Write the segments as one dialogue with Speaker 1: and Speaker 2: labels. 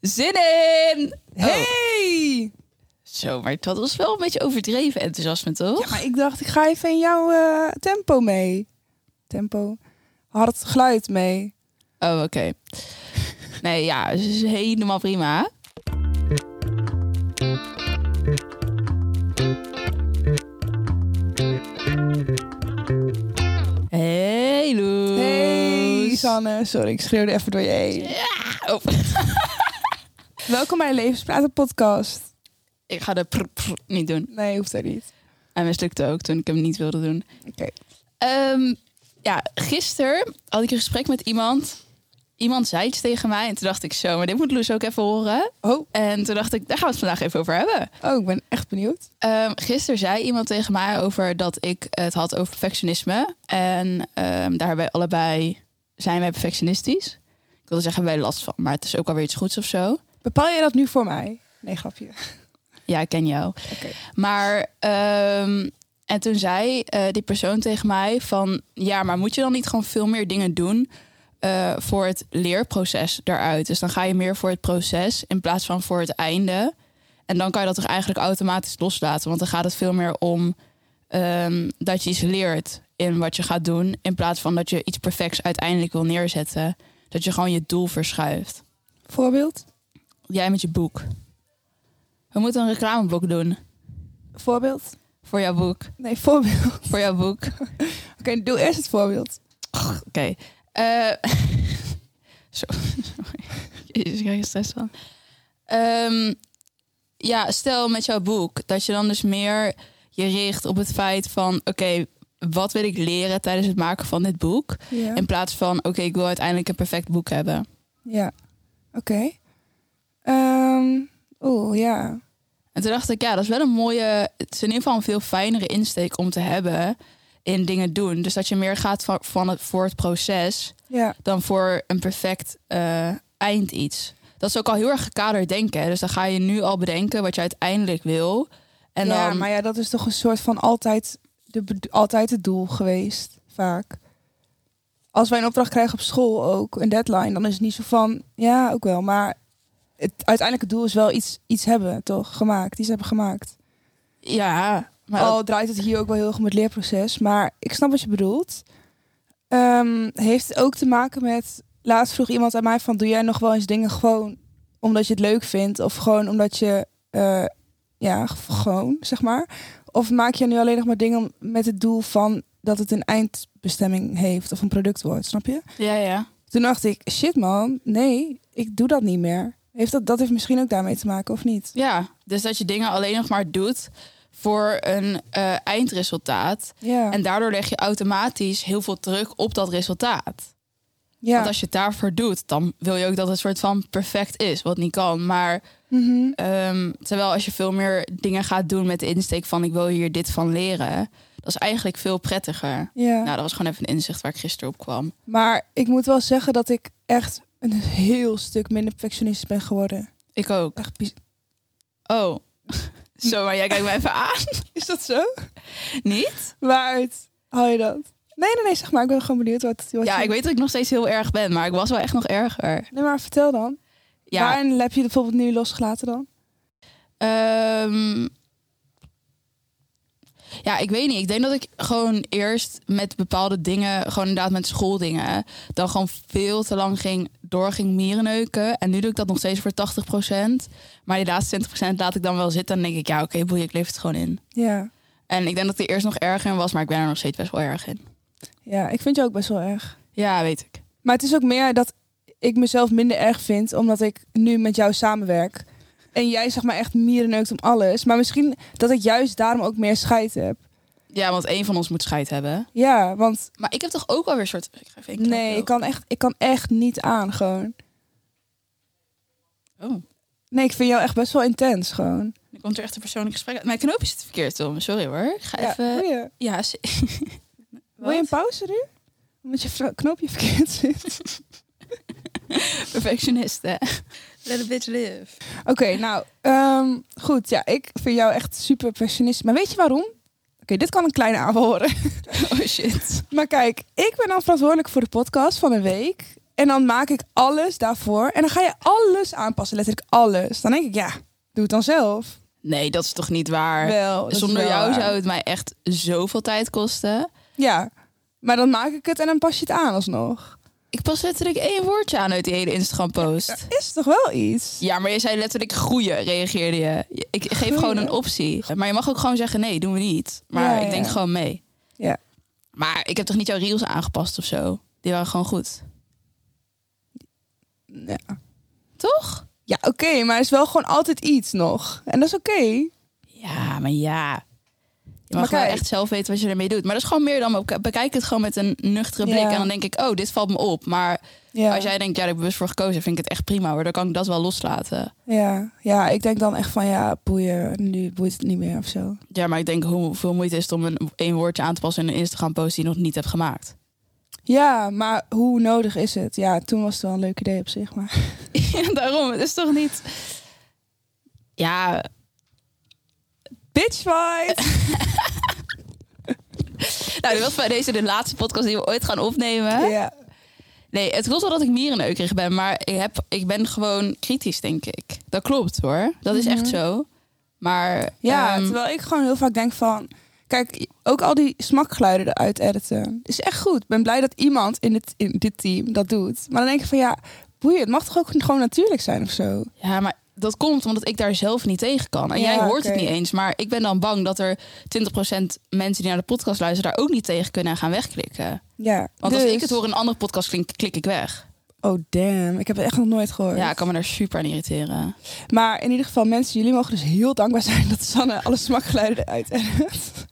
Speaker 1: Zin in!
Speaker 2: Oh.
Speaker 1: Hey! Zo, maar dat was wel een beetje overdreven enthousiasme, toch?
Speaker 2: Ja, maar ik dacht, ik ga even in jouw eh, tempo mee. Tempo. Hard geluid mee.
Speaker 1: Oh, oké. Nee, ja, het is helemaal prima. Hey, Loes.
Speaker 2: Hey, Sanne. Sorry, ik schreeuwde even door je heen.
Speaker 1: Oh,
Speaker 2: Welkom bij de Levenspraten podcast.
Speaker 1: ik ga de prr, prr niet doen.
Speaker 2: Nee, hoeft dat niet.
Speaker 1: Hij mislukte ook toen ik hem niet wilde doen.
Speaker 2: Oké.
Speaker 1: Ehm, ja, gisteren had ik een gesprek met iemand. Iemand zei iets tegen mij en toen dacht ik zo, maar dit moet Loes ook even horen.
Speaker 2: Oh,
Speaker 1: En toen dacht ik, daar gaan we het vandaag even over hebben.
Speaker 2: oh, ik ben echt benieuwd.
Speaker 1: Ehm gisteren zei iemand tegen mij over dat ik het had over perfectionisme. En ehm, daarbij allebei zijn wij perfectionistisch. Ik wilde zeggen, wij last van, maar het is ook alweer iets goeds of zo.
Speaker 2: Bepaal jij dat nu voor mij? Nee, grapje.
Speaker 1: Ja, ik ken jou.
Speaker 2: Oké.
Speaker 1: Maar, ehm, en toen zei eh, die persoon tegen mij van... Ja, maar moet je dan niet gewoon veel meer dingen doen eh, voor het leerproces daaruit? Dus dan ga je meer voor het proces in plaats van voor het einde. En dan kan je dat toch eigenlijk automatisch loslaten. Want dan gaat het veel meer om ehm, dat je iets leert in wat je gaat doen... in plaats van dat je iets perfects uiteindelijk wil neerzetten. Dat je gewoon je doel verschuift.
Speaker 2: Voorbeeld?
Speaker 1: Jij met je boek. We moeten een reclameboek doen
Speaker 2: Voorbeeld?
Speaker 1: voor jouw boek.
Speaker 2: Nee, voorbeeld. Oké,
Speaker 1: voor jouw boek. Oké.
Speaker 2: doe eerst het voorbeeld.
Speaker 1: Eh, zo. sorry. Jezus, ik krijg er stress van. Ehm, ja, stel met jouw boek dat je dan dus meer je richt op het feit van... oké, wat wil ik leren tijdens het maken van dit boek?
Speaker 2: Ja.
Speaker 1: In plaats van, oké, ik wil uiteindelijk een perfect boek hebben.
Speaker 2: Ja. Oké. Ehm Oeh, ja.
Speaker 1: En toen dacht ik, ja, dat is wel een mooie... Het is in ieder geval een veel fijnere insteek om te hebben in dingen doen. Dus dat je meer gaat van, van het, voor het proces...
Speaker 2: Ja.
Speaker 1: dan voor een perfect eh, eind iets. Dat is ook al heel erg gekaderd denken. hè. Dus dan ga je nu al bedenken wat je uiteindelijk wil. En
Speaker 2: ja,
Speaker 1: dan,
Speaker 2: maar ja, dat is toch een soort van altijd, de, bedo- altijd het doel geweest, vaak. Als wij een opdracht krijgen op school ook, een deadline, dan is het niet zo van, ja, ook wel. Maar het uiteindelijke doel is wel iets, iets hebben, toch? Gemaakt, iets hebben gemaakt.
Speaker 1: ja, maar dat-
Speaker 2: Al Oh, draait het hier ook wel heel erg om het leerproces, maar ik snap wat je bedoelt. Ehm, heeft het ook te maken met, laatst vroeg iemand aan mij van, doe jij nog wel eens dingen gewoon omdat je het leuk vindt of gewoon omdat je, eh, ja, g- gewoon, zeg maar. Of maak je nu alleen nog maar dingen om- met het doel van dat het een eindbestemming heeft of een product wordt, snap je?
Speaker 1: ja, ja.
Speaker 2: Toen dacht ik, shit man, nee, ik doe dat niet meer. Heeft dat, dat heeft misschien ook daarmee te maken of niet?
Speaker 1: ja, dus dat je dingen alleen nog maar doet voor een eh, eindresultaat.
Speaker 2: Ja,
Speaker 1: En daardoor leg je automatisch heel veel druk op dat resultaat.
Speaker 2: ja.
Speaker 1: Want als je het daarvoor doet, dan wil je ook dat het soort van perfect is. Wat niet kan, maar...
Speaker 2: Mhm.
Speaker 1: Ehm, terwijl als je veel meer dingen gaat doen met de insteek van ik wil hier dit van leren, dat is eigenlijk veel prettiger.
Speaker 2: ja.
Speaker 1: Nou, dat was gewoon even een inzicht waar ik gisteren op kwam.
Speaker 2: Maar ik moet wel zeggen dat ik echt een heel stuk minder perfectionistisch ben geworden.
Speaker 1: Ik ook.
Speaker 2: Echt bi-
Speaker 1: Oh, zo, maar jij kijkt me even aan.
Speaker 2: Is dat zo?
Speaker 1: Niet?
Speaker 2: Waaruit haal je dat? Nee, nee, nee, zeg maar. Ik ben gewoon benieuwd wat, wat
Speaker 1: Ja,
Speaker 2: je...
Speaker 1: ik weet dat ik nog steeds heel erg ben, maar ik was wel echt nog erger.
Speaker 2: Nee, maar vertel dan. Ja.
Speaker 1: Ja,
Speaker 2: Waarin heb je het bijvoorbeeld nu losgelaten dan?
Speaker 1: ehm, ja, ik weet niet. Ik denk dat ik gewoon eerst met bepaalde dingen, gewoon inderdaad met schooldingen, dan gewoon veel te lang ging, door ging mierenneuken. En nu doe ik dat nog steeds voor 80%. Maar die laatste 20% laat ik dan wel zitten. En dan denk ik, ja, oké, boeien, ik leef het gewoon in.
Speaker 2: Ja.
Speaker 1: En ik denk dat ik er eerst nog erger in was, maar ik ben er nog steeds best wel erg in.
Speaker 2: Ja, ik vind je ook best wel erg.
Speaker 1: Ja, weet ik.
Speaker 2: Maar het is ook meer dat ik mezelf minder erg vind, omdat ik nu met jou samenwerk. En jij zeg maar echt mierenneukt om alles. Maar misschien dat ik juist daarom ook meer scheid heb.
Speaker 1: Ja, want één van ons moet scheid hebben.
Speaker 2: Ja, want
Speaker 1: Maar ik heb toch ook wel weer soort... Ik ga even één keer
Speaker 2: nee, ik
Speaker 1: oplopen.
Speaker 2: kan, echt, ik kan echt niet aan gewoon.
Speaker 1: Oh,
Speaker 2: Nee, ik vind jou echt best wel intens gewoon.
Speaker 1: dan komt er echt een persoonlijk gesprek uit. Mijn knoopje zit verkeerd, Tom. Sorry hoor. Ik ga
Speaker 2: Ja,
Speaker 1: even...
Speaker 2: wil, je,
Speaker 1: Ja, ze-
Speaker 2: wil je een pauze nu? Omdat je vra- knoopje verkeerd zit.
Speaker 1: perfectionisten. Let a bitch live.
Speaker 2: Oké, nou, ehm, goed. Ja, ik vind jou echt super perfectionist. Maar weet je waarom? Oké, dit kan een kleine aanval worden.
Speaker 1: Oh shit.
Speaker 2: Maar kijk, ik ben dan verantwoordelijk voor de podcast van een week. En dan maak ik alles daarvoor. En dan ga je alles aanpassen, letterlijk alles. Dan denk ik, ja, doe het dan zelf.
Speaker 1: Nee, dat is toch niet waar?
Speaker 2: wel, dat is
Speaker 1: Zonder
Speaker 2: wel
Speaker 1: jou
Speaker 2: waar.
Speaker 1: zou het mij echt zoveel tijd kosten.
Speaker 2: Ja, maar dan maak ik het en dan pas je het aan alsnog.
Speaker 1: Ik pas letterlijk één woordje aan uit die hele Instagram-post.
Speaker 2: Is toch wel iets?
Speaker 1: Ja, maar je zei letterlijk groeien, reageerde je. Je- Ik geef
Speaker 2: Groeien?
Speaker 1: gewoon een optie. Maar je mag ook gewoon zeggen, nee, doen we niet. Maar
Speaker 2: Ja,
Speaker 1: ik denk
Speaker 2: ja.
Speaker 1: gewoon mee.
Speaker 2: Ja.
Speaker 1: Maar ik heb toch niet jouw reels aangepast of zo? Die waren gewoon goed.
Speaker 2: Ja,
Speaker 1: Toch?
Speaker 2: ja oké, maar het is wel gewoon altijd iets nog. En dat is oké.
Speaker 1: Ja, maar ja. Je
Speaker 2: Maar
Speaker 1: mag wel
Speaker 2: kijk.
Speaker 1: echt zelf weten wat je ermee doet. Maar dat is gewoon meer dan... ook- Bekijk het gewoon met een nuchtere blik.
Speaker 2: Ja.
Speaker 1: En dan denk ik, oh, dit valt me op. Maar
Speaker 2: Ja.
Speaker 1: als jij denkt, ja, daar heb ik bewust voor gekozen. Vind ik het echt prima hoor. Dan kan ik dat wel loslaten.
Speaker 2: Ja. ja, ik denk dan echt van ja, boeien, nu boeit het niet meer of zo.
Speaker 1: Ja, maar ik denk hoeveel moeite is het om een, een woordje aan te passen in een Instagram-post die je nog niet hebt gemaakt?
Speaker 2: Ja, maar hoe nodig is het? Ja, toen was het wel een leuk idee op zich, maar...
Speaker 1: Ja, daarom. Het is toch niet. Ja,
Speaker 2: Bitch fight!
Speaker 1: nou, dit was bij deze de laatste podcast die we ooit gaan opnemen.
Speaker 2: Ja.
Speaker 1: Nee, het klopt wel dat ik mierenneukerig ben, maar ik, heb, ik ben gewoon kritisch, denk ik. Dat klopt hoor. Dat is echt zo. Maar
Speaker 2: Mhm. Ja,
Speaker 1: ehm,
Speaker 2: terwijl ik gewoon heel vaak denk van... Kijk, ook al die smakgeluiden eruit editen. Is echt goed. Ik ben blij dat iemand in dit, in dit team dat doet. Maar dan denk ik van ja, boeien. Het mag toch ook gewoon natuurlijk zijn of zo?
Speaker 1: ja, maar dat komt omdat ik daar zelf niet tegen kan. En
Speaker 2: Ja,
Speaker 1: jij hoort het
Speaker 2: oké.
Speaker 1: niet eens, maar ik ben dan bang dat er 20% mensen die naar de podcast luisteren daar ook niet tegen kunnen en gaan wegklikken.
Speaker 2: Ja.
Speaker 1: Want als
Speaker 2: dus-
Speaker 1: ik het hoor in een andere podcast klink, klik ik weg.
Speaker 2: Oh damn, ik heb het echt nog nooit gehoord.
Speaker 1: Ja, ik kan me daar super aan irriteren.
Speaker 2: Maar in ieder geval, mensen, jullie mogen dus heel dankbaar zijn... dat Sanne alle smakgeluiden eruit edit.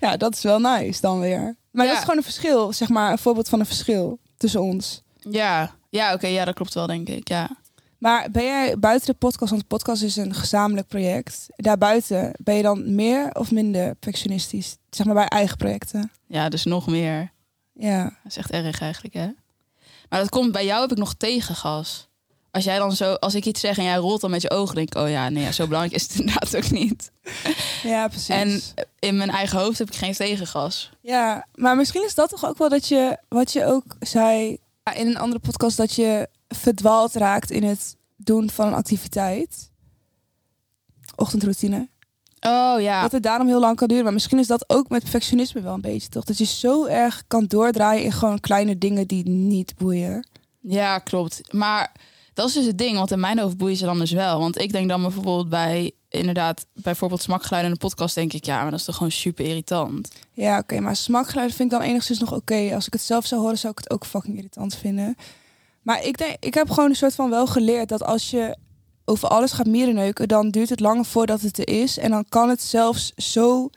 Speaker 2: ja, dat is wel nice dan weer. Maar
Speaker 1: Ja.
Speaker 2: dat is gewoon een verschil, zeg maar. Een voorbeeld van een verschil tussen ons.
Speaker 1: Ja, ja oké, ja, dat klopt wel, denk ik. Ja.
Speaker 2: Maar ben jij buiten de podcast, want de podcast is een gezamenlijk project. Daarbuiten ben je dan meer of minder perfectionistisch? Zeg maar bij eigen projecten.
Speaker 1: ja, dus nog meer.
Speaker 2: Ja.
Speaker 1: Dat is echt erg eigenlijk, hè? Maar dat komt, bij jou heb ik nog tegengas. Als jij dan zo, als ik iets zeg en jij rolt dan met je ogen, denk ik, oh ja, nee, ja, zo belangrijk is het inderdaad ook niet.
Speaker 2: Ja, precies.
Speaker 1: En in mijn eigen hoofd heb ik geen tegengas.
Speaker 2: Ja, maar misschien is dat toch ook wel dat je, wat je ook zei ja, in een andere podcast, dat je verdwaald raakt in het doen van een activiteit. Ochtendroutine.
Speaker 1: Oh ja.
Speaker 2: Dat het daarom heel lang kan duren. Maar misschien is dat ook met perfectionisme wel een beetje, toch? Dat je zo erg kan doordraaien in gewoon kleine dingen die niet boeien.
Speaker 1: Ja, klopt. Maar dat is dus het ding, want in mijn hoofd boeien ze dan dus wel. Want ik denk dan bijvoorbeeld bij, inderdaad, bijvoorbeeld smakgeluiden in de podcast, denk ik, ja, maar dat is toch gewoon super irritant.
Speaker 2: Ja, oké, maar smakgeluiden vind ik dan enigszins nog oké. Als ik het zelf zou horen, zou ik het ook fucking irritant vinden. Maar ik denk, ik heb gewoon een soort van wel geleerd dat als je over alles gaat mierenneuken, dan duurt het langer voordat het er is. En dan kan het zelfs zo,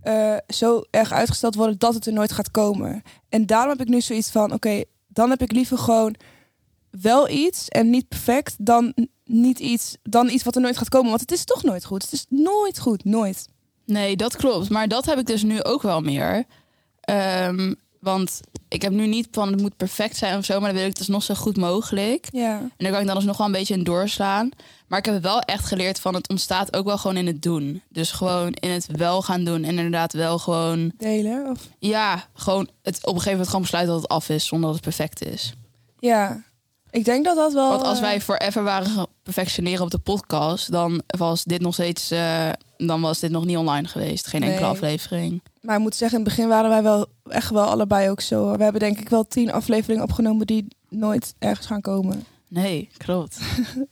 Speaker 2: eh, zo erg uitgesteld worden dat het er nooit gaat komen. En daarom heb ik nu zoiets van, oké, dan heb ik liever gewoon wel iets en niet perfect dan n- niet iets, dan iets wat er nooit gaat komen. Want het is toch nooit goed. Het is nooit goed, nooit.
Speaker 1: Nee, dat klopt. Maar dat heb ik dus nu ook wel meer. Ehm, want ik heb nu niet van het moet perfect zijn of zo, maar dan wil ik het dus nog zo goed mogelijk.
Speaker 2: Ja.
Speaker 1: En daar kan ik dan dus nog wel een beetje in doorslaan. Maar ik heb wel echt geleerd van het ontstaat ook wel gewoon in het doen. Dus gewoon in het wel gaan doen. En inderdaad wel gewoon,
Speaker 2: Delen of
Speaker 1: ja, gewoon het op een gegeven moment gewoon besluiten dat het af is zonder dat het perfect is.
Speaker 2: Ja, ik denk dat dat wel.
Speaker 1: Want als wij
Speaker 2: eh,
Speaker 1: forever waren gaan perfectioneren op de podcast, dan was dit nog steeds, eh, dan was dit nog niet online geweest. Geen enkele
Speaker 2: Nee.
Speaker 1: aflevering.
Speaker 2: Maar ik moet zeggen, in het begin waren wij wel echt wel allebei ook zo. hoor. We hebben denk ik wel tien afleveringen opgenomen die nooit ergens gaan komen.
Speaker 1: Nee, klopt.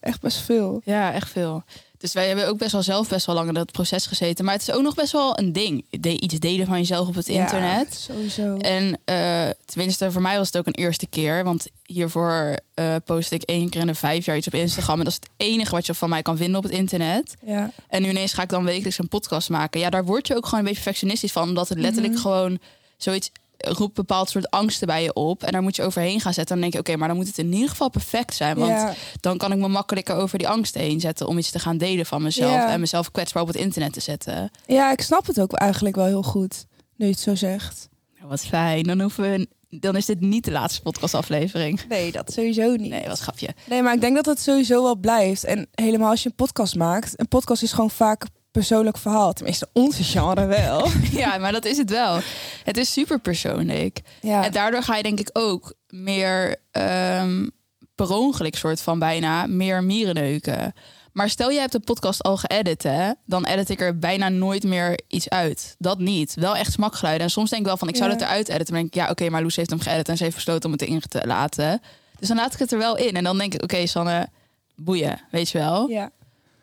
Speaker 2: Echt best veel.
Speaker 1: Ja, echt veel. Dus wij hebben ook best wel zelf best wel lang in dat proces gezeten. Maar het is ook nog best wel een ding. De, iets delen van jezelf op het
Speaker 2: Ja,
Speaker 1: internet.
Speaker 2: sowieso.
Speaker 1: En eh, tenminste, voor mij was het ook een eerste keer. Want hiervoor eh, post ik één keer in de vijf jaar iets op Instagram. En dat is het enige wat je van mij kan vinden op het internet.
Speaker 2: Ja,
Speaker 1: En nu ineens ga ik dan wekelijks een podcast maken. Ja, daar word je ook gewoon een beetje perfectionistisch van. Omdat het
Speaker 2: Mhm.
Speaker 1: letterlijk gewoon zoiets roept bepaald soort angsten bij je op. En daar moet je overheen gaan zetten. En dan denk je, oké, maar dan moet het in ieder geval perfect zijn. Want
Speaker 2: ja,
Speaker 1: dan kan ik me makkelijker over die angsten heen zetten... om iets te gaan delen van mezelf.
Speaker 2: Ja.
Speaker 1: En mezelf kwetsbaar op het internet te zetten.
Speaker 2: ja, ik snap het ook eigenlijk wel heel goed. Nu je het zo zegt.
Speaker 1: Nou, wat fijn. Dan, hoeven we, dan is dit niet de laatste podcastaflevering.
Speaker 2: Nee, dat sowieso niet.
Speaker 1: Nee, wat grapje.
Speaker 2: Nee, maar ik denk dat dat sowieso wel blijft. En helemaal als je een podcast maakt. Een podcast is gewoon vaak persoonlijk verhaal. Tenminste, onze genre wel.
Speaker 1: ja, maar dat is het wel. Het is super persoonlijk.
Speaker 2: ja.
Speaker 1: En daardoor ga je denk ik ook meer ehm per ongeluk soort van bijna meer mieren neuken. Maar stel je hebt de podcast al geëdit, hè, dan edit ik er bijna nooit meer iets uit. Dat niet. Wel echt smakgeluiden. En soms denk ik wel van, ik zou
Speaker 2: Ja.
Speaker 1: dat eruit editen. Maar denk ik, ja, oké, maar Loes heeft hem geëdit en ze heeft besloten om het erin te laten. Dus dan laat ik het er wel in. En dan denk ik, oké, Sanne, boeien, weet je wel.
Speaker 2: ja.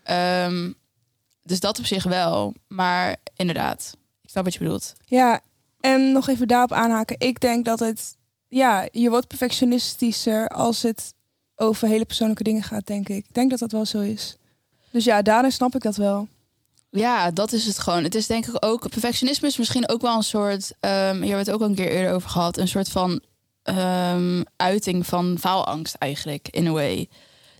Speaker 1: Ehm, dus dat op zich wel. Maar inderdaad, ik snap wat je bedoelt.
Speaker 2: Ja, en nog even daarop aanhaken. Ik denk dat het, ja, je wordt perfectionistischer als het over hele persoonlijke dingen gaat, denk ik. Ik denk dat dat wel zo is. Dus ja, daarin snap ik dat wel.
Speaker 1: Ja, dat is het gewoon. Het is denk ik ook. Perfectionisme is misschien ook wel een soort. ehm hier hebben we het ook al een keer eerder over gehad. Een soort van ehm, uiting van faalangst, eigenlijk. In a way.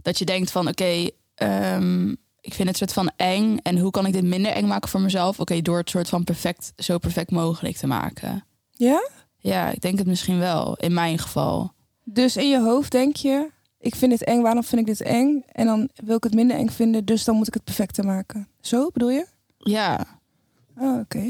Speaker 1: Dat je denkt van: oké, ehm, ik vind het soort van eng. En hoe kan ik dit minder eng maken voor mezelf? Oké, door het soort van perfect, zo perfect mogelijk te maken.
Speaker 2: Ja?
Speaker 1: Ja, ik denk het misschien wel. In mijn geval.
Speaker 2: Dus in je hoofd denk je, ik vind dit eng, waarom vind ik dit eng? En dan wil ik het minder eng vinden, dus dan moet ik het perfecter maken. Zo bedoel je?
Speaker 1: Ja.
Speaker 2: Oh, oké.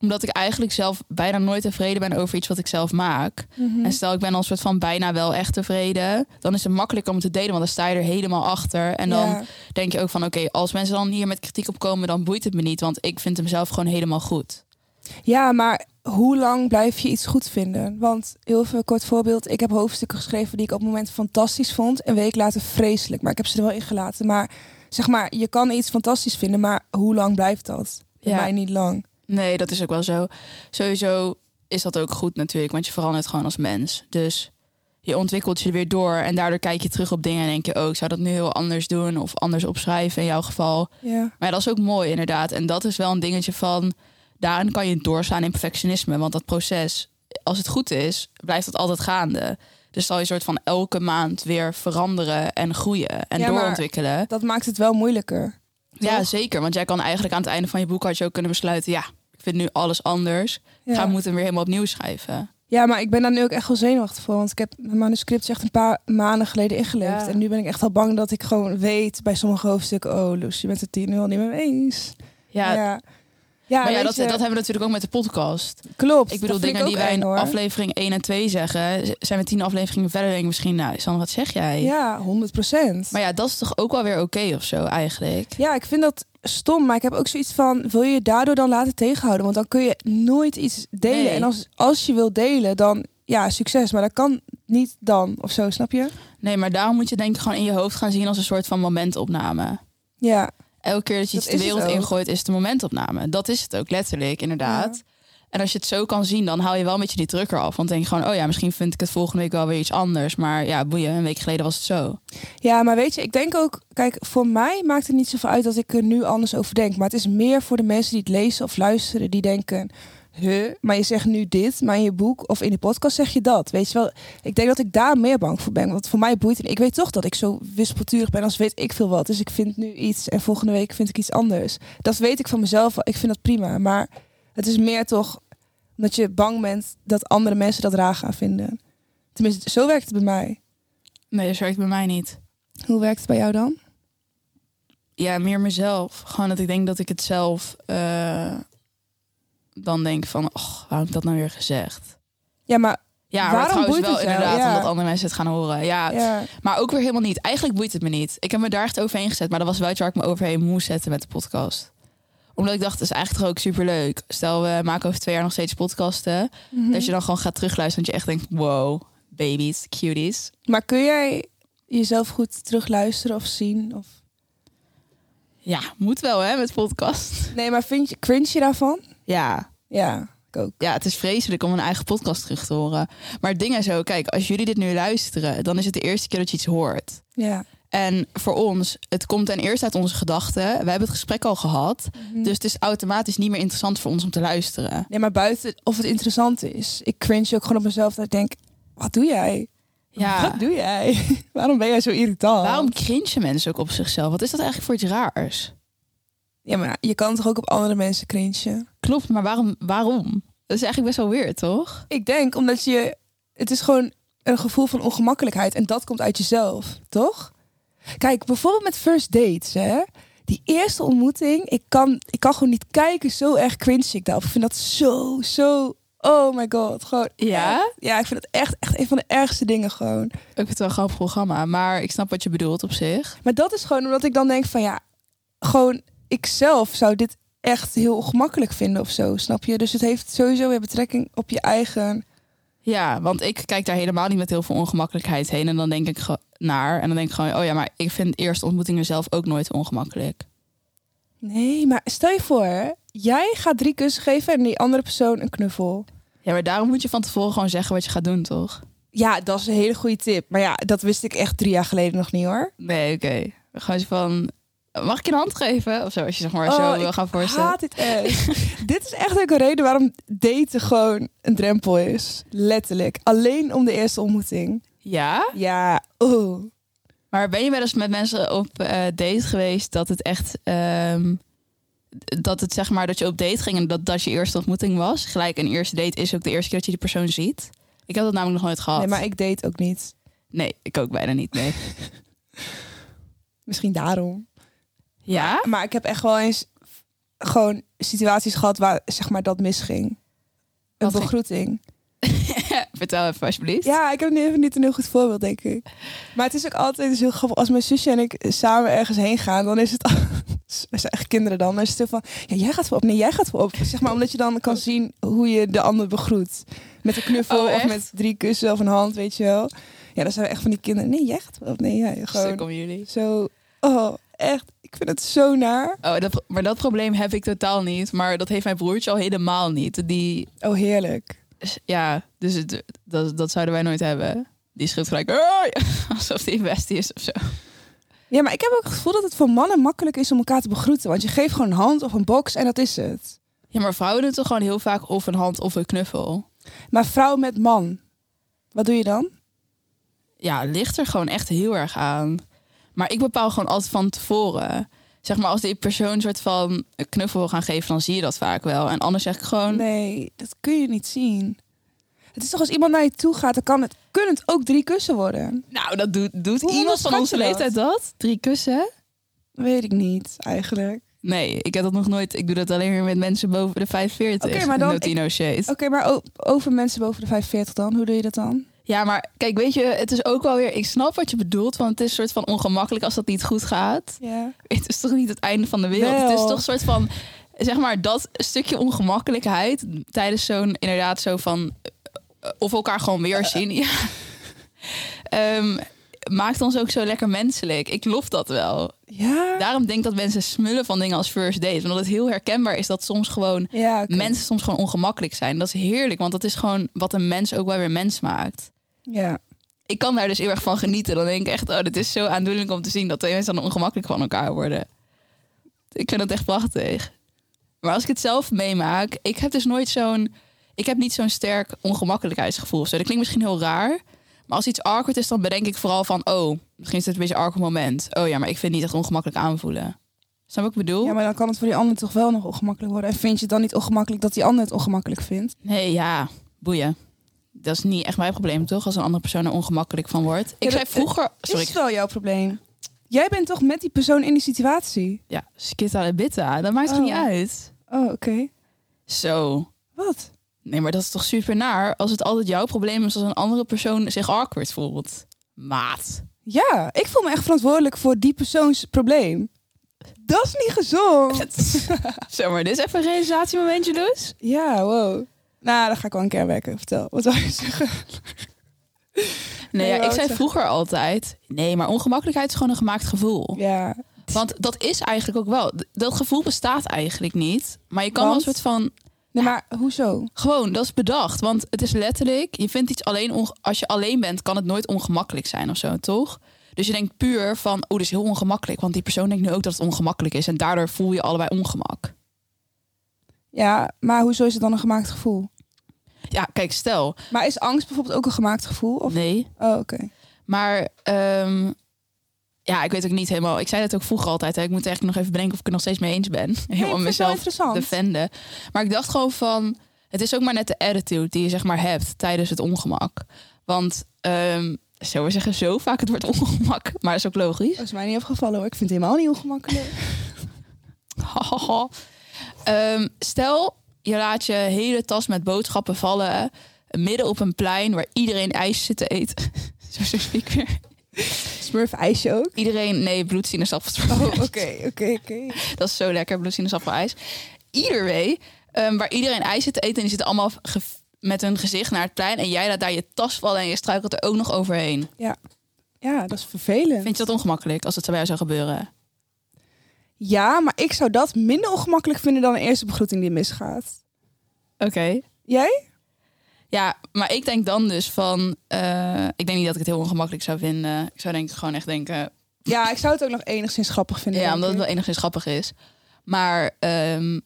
Speaker 1: Omdat ik eigenlijk zelf bijna nooit tevreden ben over iets wat ik zelf maak.
Speaker 2: Mhm.
Speaker 1: En stel, ik ben al een soort van bijna wel echt tevreden. Dan is het makkelijker om te delen, want dan sta je er helemaal achter. En dan
Speaker 2: Ja.
Speaker 1: denk je ook van, oké, als mensen dan hier met kritiek op komen, dan boeit het me niet. Want ik vind hem zelf gewoon helemaal goed.
Speaker 2: Ja, maar hoe lang blijf je iets goed vinden? Want heel even een kort voorbeeld. Ik heb hoofdstukken geschreven die ik op het moment fantastisch vond. Een week later vreselijk. Maar ik heb ze er wel in gelaten. Maar zeg maar, je kan iets fantastisch vinden. Maar hoe lang blijft dat? Bij
Speaker 1: Ja.
Speaker 2: mij niet lang.
Speaker 1: Nee, dat is ook wel zo. Sowieso is dat ook goed natuurlijk, want je verandert gewoon als mens. Dus je ontwikkelt je weer door en daardoor kijk je terug op dingen en denk je, oh, ik zou dat nu heel anders doen of anders opschrijven in jouw geval.
Speaker 2: Ja.
Speaker 1: Maar ja, dat is ook mooi, inderdaad. En dat is wel een dingetje van. Daarin kan je doorslaan in perfectionisme. Want dat proces, als het goed is, blijft dat altijd gaande. Dus zal je soort van elke maand weer veranderen en groeien en
Speaker 2: Ja, maar-
Speaker 1: doorontwikkelen.
Speaker 2: Dat maakt het wel moeilijker.
Speaker 1: Ja, zeker. Want jij kan eigenlijk aan het einde van je boek had je ook kunnen besluiten. Ja, ik vind nu alles anders.
Speaker 2: Ja.
Speaker 1: Ga moeten hem weer helemaal opnieuw schrijven.
Speaker 2: ja, maar ik ben daar nu ook echt wel zenuwachtig voor. Want ik heb mijn manuscript is echt een paar maanden geleden ingeleverd.
Speaker 1: Ja.
Speaker 2: En nu ben ik echt al bang dat ik gewoon weet bij sommige hoofdstukken... Oh, Loes, je bent het hier nu al niet mee eens.
Speaker 1: Ja,
Speaker 2: ja. Ja,
Speaker 1: maar ja,
Speaker 2: weet
Speaker 1: dat,
Speaker 2: je,
Speaker 1: dat hebben we natuurlijk ook met de podcast.
Speaker 2: klopt.
Speaker 1: Ik bedoel,
Speaker 2: Dat vind
Speaker 1: dingen
Speaker 2: ook
Speaker 1: die wij
Speaker 2: eng,
Speaker 1: in
Speaker 2: hoor.
Speaker 1: aflevering 1 en 2 zeggen, z- zijn we tien afleveringen verder. Denk ik misschien, nou, Sander, wat zeg jij?
Speaker 2: Ja, 100 procent.
Speaker 1: Maar ja, dat is toch ook wel weer oké of zo eigenlijk.
Speaker 2: Ja, ik vind dat stom, maar ik heb ook zoiets van: wil je je daardoor dan laten tegenhouden? Want dan kun je nooit iets delen.
Speaker 1: Nee.
Speaker 2: En als, als je wil delen, dan ja, succes, maar dat kan niet dan of zo, snap je?
Speaker 1: Nee, maar daarom moet je denk ik gewoon in je hoofd gaan zien als een soort van momentopname.
Speaker 2: Ja,
Speaker 1: Elke keer dat je
Speaker 2: Dat
Speaker 1: iets de
Speaker 2: is het
Speaker 1: wereld
Speaker 2: ook.
Speaker 1: ingooit, is het een momentopname. Dat is het ook, letterlijk, inderdaad. En als je het zo kan zien, dan haal je wel een beetje die druk eraf. Want dan denk je gewoon, oh ja, misschien vind ik het volgende week wel weer iets anders. Maar ja, boeien, een week geleden was het zo.
Speaker 2: ja, maar weet je, ik denk ook: kijk, voor mij maakt het niet zoveel uit dat ik er nu anders over denk. Maar het is meer voor de mensen die het lezen of luisteren, die denken. Huh? Maar je zegt nu dit, maar in je boek of in de podcast zeg je dat. Weet je wel, ik denk dat ik daar meer bang voor ben. Want voor mij boeit het. Ik weet toch dat ik zo wispelturig ben als weet ik veel wat. Dus ik vind nu iets en volgende week vind ik iets anders. Dat weet ik van mezelf. wel. Ik vind dat prima. Maar het is meer toch dat je bang bent dat andere mensen dat raar gaan vinden. Tenminste, zo werkt het bij mij.
Speaker 1: Nee, dat werkt bij mij niet.
Speaker 2: Hoe werkt het bij jou dan?
Speaker 1: Ja, meer mezelf. Gewoon dat ik denk dat ik het zelf eh, dan denk van, och, waarom heb ik dat nou weer gezegd?
Speaker 2: Ja, maar
Speaker 1: Ja, maar
Speaker 2: Waarom
Speaker 1: trouwens
Speaker 2: boeit
Speaker 1: wel
Speaker 2: het jou?
Speaker 1: inderdaad,
Speaker 2: Ja.
Speaker 1: omdat andere mensen het gaan horen. Ja,
Speaker 2: ja,
Speaker 1: Maar ook weer helemaal niet. Eigenlijk boeit het me niet. Ik heb me daar echt overheen gezet. Maar dat was wel iets waar ik me overheen moest zetten met de podcast. Omdat ik dacht, het is eigenlijk toch ook superleuk. Stel, we maken over twee jaar nog steeds podcasten.
Speaker 2: Mhm.
Speaker 1: Dat je dan gewoon gaat terugluisteren. Dat je echt denkt, wow, baby's, cuties.
Speaker 2: maar kun jij jezelf goed terugluisteren of zien? Of...
Speaker 1: Ja, moet wel hè, met podcast.
Speaker 2: Nee, maar vind je, cringe je daarvan?
Speaker 1: Ja.
Speaker 2: Ja, ik ook.
Speaker 1: Ja, het is vreselijk om een eigen podcast terug te horen. Maar het ding is zo, kijk, als jullie dit nu luisteren... dan is het de eerste keer dat je iets hoort.
Speaker 2: Ja.
Speaker 1: En voor ons, het komt ten eerste uit onze gedachten. We hebben het gesprek al gehad. Dus het is automatisch niet meer interessant voor ons om te luisteren.
Speaker 2: Mhm. Nee, maar buiten of het interessant is. Ik cringe ook gewoon op mezelf dat ik denk, wat doe jij?
Speaker 1: Ja.
Speaker 2: Wat doe jij? Waarom ben jij zo irritant?
Speaker 1: Waarom cringen mensen ook op zichzelf? Wat is dat eigenlijk voor iets raars?
Speaker 2: Ja, maar je kan toch ook op andere mensen cringen?
Speaker 1: Klopt, maar waarom? waarom? Dat is eigenlijk best wel weird, toch?
Speaker 2: Ik denk omdat je... Het is gewoon een gevoel van ongemakkelijkheid en dat komt uit jezelf, toch? Kijk, bijvoorbeeld met first dates, hè? Die eerste ontmoeting, ik kan, ik kan gewoon niet kijken. Zo erg cringe ik daarop. Ik vind dat zo, zo... Oh my god, gewoon...
Speaker 1: Ja?
Speaker 2: echt- Ja, ik vind dat echt, echt een van de ergste dingen gewoon.
Speaker 1: Ik vind het wel een grappig programma, maar ik snap wat je bedoelt op zich.
Speaker 2: Maar dat is gewoon omdat ik dan denk van ja, gewoon ik zelf zou dit echt heel ongemakkelijk vinden of zo, snap je? Dus het heeft sowieso weer betrekking op je eigen...
Speaker 1: Ja, want ik kijk daar helemaal niet met heel veel ongemakkelijkheid heen. En dan denk ik ge- naar. En dan denk ik gewoon, oh ja, maar ik vind eerste ontmoetingen zelf ook nooit ongemakkelijk.
Speaker 2: Nee, maar stel je voor, jij gaat drie kussen geven en die andere persoon een knuffel.
Speaker 1: Ja, maar daarom moet je van tevoren gewoon zeggen wat je gaat doen, toch?
Speaker 2: Ja, dat is een hele goede tip. Maar ja, dat wist ik echt drie jaar geleden nog niet hoor.
Speaker 1: Nee, oké. Gewoon zo van, mag ik je een hand geven? Of zo, als je zeg maar
Speaker 2: Oh,
Speaker 1: zo
Speaker 2: ik
Speaker 1: wil gaan voorstellen.
Speaker 2: Haat dit echt. dit is echt ook een reden waarom daten gewoon een drempel is. Letterlijk. Alleen om de eerste ontmoeting.
Speaker 1: Ja?
Speaker 2: Ja, oh.
Speaker 1: Maar ben je wel eens met mensen op eh, date geweest dat het echt... ehm, dat het zeg maar dat je op date ging en dat dat je eerste ontmoeting was? Gelijk een eerste date is ook de eerste keer dat je die persoon ziet. Ik heb dat namelijk nog nooit gehad.
Speaker 2: Nee, maar ik date ook niet.
Speaker 1: Nee, ik ook bijna niet, nee.
Speaker 2: Misschien daarom.
Speaker 1: Ja?
Speaker 2: Maar ik heb echt wel eens gewoon situaties gehad waar zeg maar dat misging. Een
Speaker 1: Wat ging-
Speaker 2: begroeting.
Speaker 1: eh, Vertel even alsjeblieft.
Speaker 2: Ja, ik heb nu even niet een heel goed voorbeeld, denk ik. Maar het is ook altijd het is heel grappig. Als mijn zusje en ik samen ergens heen gaan, dan is het... al- We zijn echt kinderen dan. Dan is het heel van, ja, jij gaat voorop. Nee, jij gaat voorop. Zeg maar, omdat je dan kan zien hoe je de ander begroet. Met een knuffel
Speaker 1: Oh,
Speaker 2: of
Speaker 1: echt?
Speaker 2: met drie kussen of een hand, weet je wel. Ja, dan zijn we echt van die kinderen. Nee, jij gaat voorop. Nee, jij
Speaker 1: Stuk
Speaker 2: gewoon
Speaker 1: om jullie.
Speaker 2: zo... Oh, echt. Ik vind het zo naar.
Speaker 1: Oh, dat, maar dat probleem heb ik totaal niet. Maar dat heeft mijn broertje al helemaal niet. Die,
Speaker 2: Oh, heerlijk.
Speaker 1: ja, dus het, dat, dat zouden wij nooit hebben. Die schreeuwt gelijk, "Hoi!" alsof die een bestie is of zo.
Speaker 2: Ja, maar ik heb ook het gevoel dat het voor mannen makkelijk is om elkaar te begroeten. Want je geeft gewoon een hand of een box en dat is het.
Speaker 1: Ja, maar vrouwen doen toch gewoon heel vaak of een hand of een knuffel.
Speaker 2: Maar vrouw met man, wat doe je dan?
Speaker 1: Ja, het ligt er gewoon echt heel erg aan. Maar ik bepaal gewoon altijd van tevoren. Zeg maar, als die persoon een soort van een knuffel wil gaan geven, dan zie je dat vaak wel. En anders zeg ik gewoon,
Speaker 2: Nee, dat kun je niet zien. Het is toch als iemand naar je toe gaat, dan kan het, kunnen het ook drie kussen worden.
Speaker 1: nou, dat doet, doet
Speaker 2: Hoe
Speaker 1: iemand van
Speaker 2: onderschat
Speaker 1: onze
Speaker 2: je dat?
Speaker 1: leeftijd dat? Drie kussen?
Speaker 2: Weet ik niet, eigenlijk.
Speaker 1: Nee, ik heb dat nog nooit. Ik doe dat alleen maar met mensen boven de 45.
Speaker 2: Oké, maar dan-
Speaker 1: No tea, no shade.
Speaker 2: Oké, maar o- over mensen boven de 45 dan, hoe doe je dat dan?
Speaker 1: Ja, maar kijk, weet je, het is ook wel weer... Ik snap wat je bedoelt, want het is een soort van ongemakkelijk als dat niet goed gaat.
Speaker 2: Ja.
Speaker 1: Het is toch niet het einde van de wereld?
Speaker 2: Wel.
Speaker 1: Het is toch een soort van, zeg maar, dat stukje ongemakkelijkheid... tijdens zo'n, inderdaad, zo van... eh, of elkaar gewoon weer zien, ja. Ehm, maakt ons ook zo lekker menselijk. Ik lof dat wel.
Speaker 2: Ja?
Speaker 1: Daarom denk ik dat mensen smullen van dingen als first date. Omdat het heel herkenbaar is dat soms gewoon...
Speaker 2: Ja, oké.
Speaker 1: mensen soms gewoon ongemakkelijk zijn. Dat is heerlijk, want dat is gewoon wat een mens ook wel weer mens maakt.
Speaker 2: Ja.
Speaker 1: Ik kan daar dus heel erg van genieten. Dan denk ik echt, oh, dit is zo aandoenlijk om te zien dat twee mensen dan ongemakkelijk van elkaar worden. Ik vind dat echt prachtig. Maar als ik het zelf meemaak, ik heb dus nooit zo'n. Ik heb niet zo'n sterk ongemakkelijkheidsgevoel. of Zo. Dat klinkt misschien heel raar. Maar als iets awkward is, dan bedenk ik vooral van, oh, misschien is dit een beetje een awkward moment. Oh ja, maar ik vind het niet echt ongemakkelijk aanvoelen. Snap je wat ik bedoel?
Speaker 2: ja, maar dan kan het voor die ander toch wel nog ongemakkelijk worden. En vind je het dan niet ongemakkelijk dat die ander het ongemakkelijk vindt?
Speaker 1: Nee, ja, boeien. Dat is niet echt mijn probleem, toch? Als een andere persoon er ongemakkelijk van wordt. Ik
Speaker 2: dat- eh,
Speaker 1: zei vroeger... Sorry,
Speaker 2: Is
Speaker 1: ik-
Speaker 2: wel jouw probleem. Jij bent toch met die persoon in die situatie?
Speaker 1: ja, skitta en bitta. Dat maakt
Speaker 2: Oh.
Speaker 1: het niet uit.
Speaker 2: Oh, oké.
Speaker 1: Zo.
Speaker 2: Wat?
Speaker 1: Nee, maar dat is toch super naar als het altijd jouw probleem is als een andere persoon zich awkward voelt. Maat.
Speaker 2: Ja, ik voel me echt verantwoordelijk voor die persoons probleem. Dat is niet gezond.
Speaker 1: Zo, maar dit is even een realisatiemomentje dus.
Speaker 2: Ja, wow. Nou, dan ga ik wel een keer werken. Vertel, wat zou je zeggen?
Speaker 1: Nee,
Speaker 2: Nee,
Speaker 1: ja, ik
Speaker 2: wou ik
Speaker 1: zei
Speaker 2: zeggen.
Speaker 1: vroeger altijd... Nee, maar ongemakkelijkheid is gewoon een gemaakt gevoel.
Speaker 2: Ja,
Speaker 1: Want dat is eigenlijk ook wel... Dat gevoel bestaat eigenlijk niet. Maar je kan wel een
Speaker 2: Want?
Speaker 1: soort van...
Speaker 2: nee, maar hoezo?
Speaker 1: Gewoon, dat is bedacht. Want het is letterlijk, je vindt iets alleen, onge- als je alleen bent, kan het nooit ongemakkelijk zijn of zo, toch? Dus je denkt puur van, oh, dit is heel ongemakkelijk. Want die persoon denkt nu ook dat het ongemakkelijk is. En daardoor voel je allebei ongemak.
Speaker 2: Ja, maar hoezo is het dan een gemaakt gevoel?
Speaker 1: Ja, kijk, stel.
Speaker 2: Maar is angst bijvoorbeeld ook een gemaakt gevoel? Of...
Speaker 1: Nee.
Speaker 2: Oh, oké.
Speaker 1: Maar, ehm, ja, ik weet ook niet helemaal. Ik zei dat ook vroeger altijd. Hè. Ik moet eigenlijk nog even bedenken of ik het nog steeds mee eens ben.
Speaker 2: Nee, ik
Speaker 1: Helemaal
Speaker 2: vind het wel
Speaker 1: mezelf
Speaker 2: interessant.
Speaker 1: defenden. Maar ik dacht gewoon van, het is ook maar net de attitude die je zeg maar hebt tijdens het ongemak. Want ehm zo we zeggen zo vaak het woord ongemak, maar dat is ook logisch.
Speaker 2: Oh, Dat is mij niet opgevallen hoor. Ik vind het helemaal niet ongemakkelijk.
Speaker 1: Ehm, stel, je laat je hele tas met boodschappen vallen midden op een plein waar iedereen ijs zit te eten. Zo zeg ik weer.
Speaker 2: Smurf ijsje ook.
Speaker 1: Iedereen, nee, bloedsinaasappel.
Speaker 2: Oh, oké, oké, oké.
Speaker 1: Dat is zo lekker, bloedsinaasappelijs. Either way, ehm, waar iedereen ijs zit te eten... en die zitten allemaal ge- met hun gezicht naar het plein... en jij laat daar je tas vallen en je struikelt er ook nog overheen.
Speaker 2: Ja, dat is vervelend.
Speaker 1: Vind je dat ongemakkelijk als het bij jou zou gebeuren?
Speaker 2: Ja, maar ik zou dat minder ongemakkelijk vinden dan een eerste begroeting die misgaat.
Speaker 1: Oké.
Speaker 2: Jij?
Speaker 1: Ja, maar ik denk dan dus van... eh, ik denk niet dat ik het heel ongemakkelijk zou vinden. Ik zou denk ik gewoon echt denken...
Speaker 2: Ja, ik zou het ook nog enigszins grappig vinden.
Speaker 1: Ja,
Speaker 2: denk
Speaker 1: omdat het
Speaker 2: ik.
Speaker 1: wel enigszins grappig is. Maar ehm,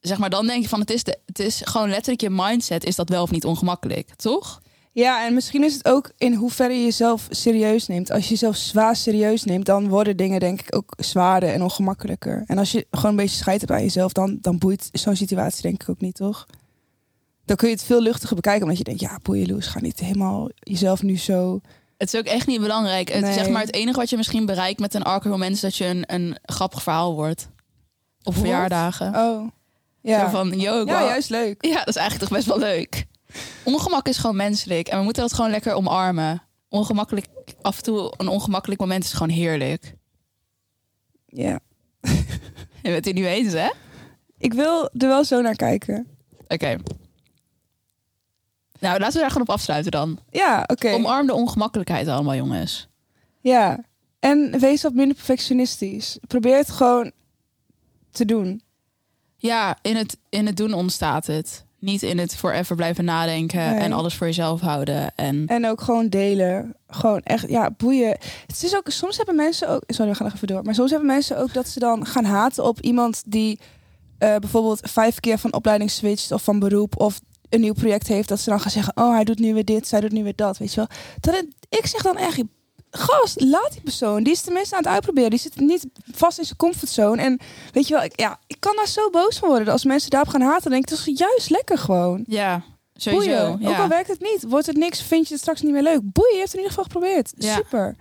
Speaker 1: zeg maar, dan denk je van... Het is, de, het is gewoon letterlijk je mindset. Is dat wel of niet ongemakkelijk, toch?
Speaker 2: Ja, en misschien is het ook in hoeverre je jezelf serieus neemt. Als je jezelf zwaar serieus neemt, dan worden dingen denk ik ook zwaarder en ongemakkelijker. En als je gewoon een beetje scheid hebt aan jezelf, dan, dan boeit zo'n situatie denk ik ook niet, toch? Dan kun je het veel luchtiger bekijken, omdat je denkt, ja, boeien Loes, ga niet helemaal jezelf nu zo...
Speaker 1: Het is ook echt niet belangrijk. Het,
Speaker 2: Nee.
Speaker 1: zeg maar, het enige wat je misschien bereikt met een argument... is dat je een, een grappig verhaal wordt. Op
Speaker 2: Wordt?
Speaker 1: verjaardagen.
Speaker 2: Oh,
Speaker 1: Zo
Speaker 2: ja.
Speaker 1: van, yo, ik
Speaker 2: Ja,
Speaker 1: wou-
Speaker 2: juist leuk.
Speaker 1: Ja, dat is eigenlijk toch best wel leuk. Ongemak is gewoon menselijk en we moeten dat gewoon lekker omarmen. Ongemakkelijk, af en toe een ongemakkelijk moment is gewoon heerlijk.
Speaker 2: Ja.
Speaker 1: Je bent het nu eens, hè?
Speaker 2: Ik wil er wel zo naar kijken.
Speaker 1: Oké. Nou, laten we daar gewoon op afsluiten dan.
Speaker 2: Ja, oké.
Speaker 1: Omarm de ongemakkelijkheid allemaal, jongens.
Speaker 2: Ja. En wees wat minder perfectionistisch. Probeer het gewoon te doen.
Speaker 1: Ja, in het, in het doen ontstaat het. Niet in het forever blijven nadenken
Speaker 2: Nee.
Speaker 1: en alles voor jezelf houden. En
Speaker 2: En ook gewoon delen. Gewoon echt, ja, boeien. Het is ook, soms hebben mensen ook, sorry, we gaan nog even door. Maar soms hebben mensen ook dat ze dan gaan haten op iemand die eh, bijvoorbeeld vijf keer van opleiding switcht of van beroep of een nieuw project heeft. Dat ze dan gaan zeggen, oh, hij doet nu weer dit, zij doet nu weer dat, weet je wel. Dat het- ik zeg dan echt, gast, laat die persoon. Die is tenminste aan het uitproberen. Die zit niet vast in zijn comfortzone. En weet je wel, ik, ja, ik kan daar zo boos van worden. Als mensen daarop gaan haten, dan denk ik, dat is juist lekker gewoon.
Speaker 1: ja, sowieso.
Speaker 2: Boeien.
Speaker 1: Ja.
Speaker 2: Ook al werkt het niet, wordt het niks, vind je het straks niet meer leuk. Boeien, je hebt het in ieder geval geprobeerd.
Speaker 1: Ja.
Speaker 2: Super.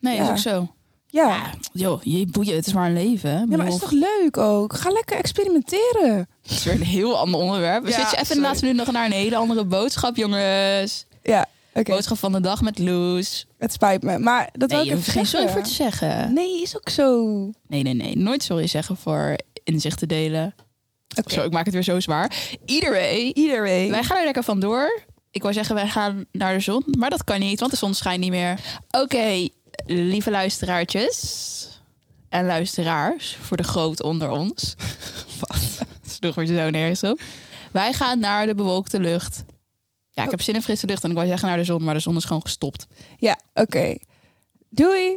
Speaker 1: nee, is
Speaker 2: Ja.
Speaker 1: ook zo.
Speaker 2: Ja.
Speaker 1: Ja, joh, je boeien, het is maar een leven. hè? Ik
Speaker 2: ja, maar
Speaker 1: bedoel,
Speaker 2: het is toch leuk ook? Ga lekker experimenteren.
Speaker 1: Het is weer een heel ander onderwerp. We
Speaker 2: Ja,
Speaker 1: zitten even
Speaker 2: sorry.
Speaker 1: inderdaad nu nog naar een hele andere boodschap, jongens.
Speaker 2: Ja, oké.
Speaker 1: Boodschap van de dag met Loes.
Speaker 2: Het spijt me. Maar
Speaker 1: Nee,
Speaker 2: dat wil ik
Speaker 1: je hoeft
Speaker 2: even
Speaker 1: geen sorry voor
Speaker 2: zeggen.
Speaker 1: te zeggen.
Speaker 2: Nee, is ook zo.
Speaker 1: Nee, nee, nee. Nooit sorry zeggen voor inzichten delen.
Speaker 2: Oké.
Speaker 1: Zo, ik maak het weer zo zwaar. Iedereen.
Speaker 2: Iedereen.
Speaker 1: Wij gaan er lekker vandoor. Ik wou zeggen, wij gaan naar de zon. Maar dat kan niet, want de zon schijnt niet meer. Oké, lieve luisteraartjes. En luisteraars, voor de groot onder ons. Wat? Sloeg me zo nergens op. Wij gaan naar de bewolkte lucht. Ja, ik heb zin in frisse lucht en ik wou zeggen naar de zon, maar de zon is gewoon gestopt.
Speaker 2: Ja, oké. Doei.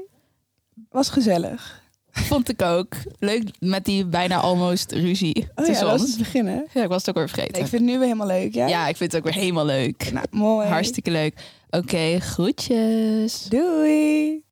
Speaker 2: Was gezellig.
Speaker 1: Vond ik ook. Leuk met die bijna almost ruzie
Speaker 2: Oh ja,
Speaker 1: tussen
Speaker 2: dat was
Speaker 1: ons.
Speaker 2: het begin, hè?
Speaker 1: Ja, ik was het ook weer vergeten.
Speaker 2: Nee, ik vind het nu weer helemaal leuk, ja?
Speaker 1: Ja, ik vind het ook weer helemaal leuk.
Speaker 2: Nou, mooi.
Speaker 1: Hartstikke leuk. Oké, groetjes.
Speaker 2: Doei.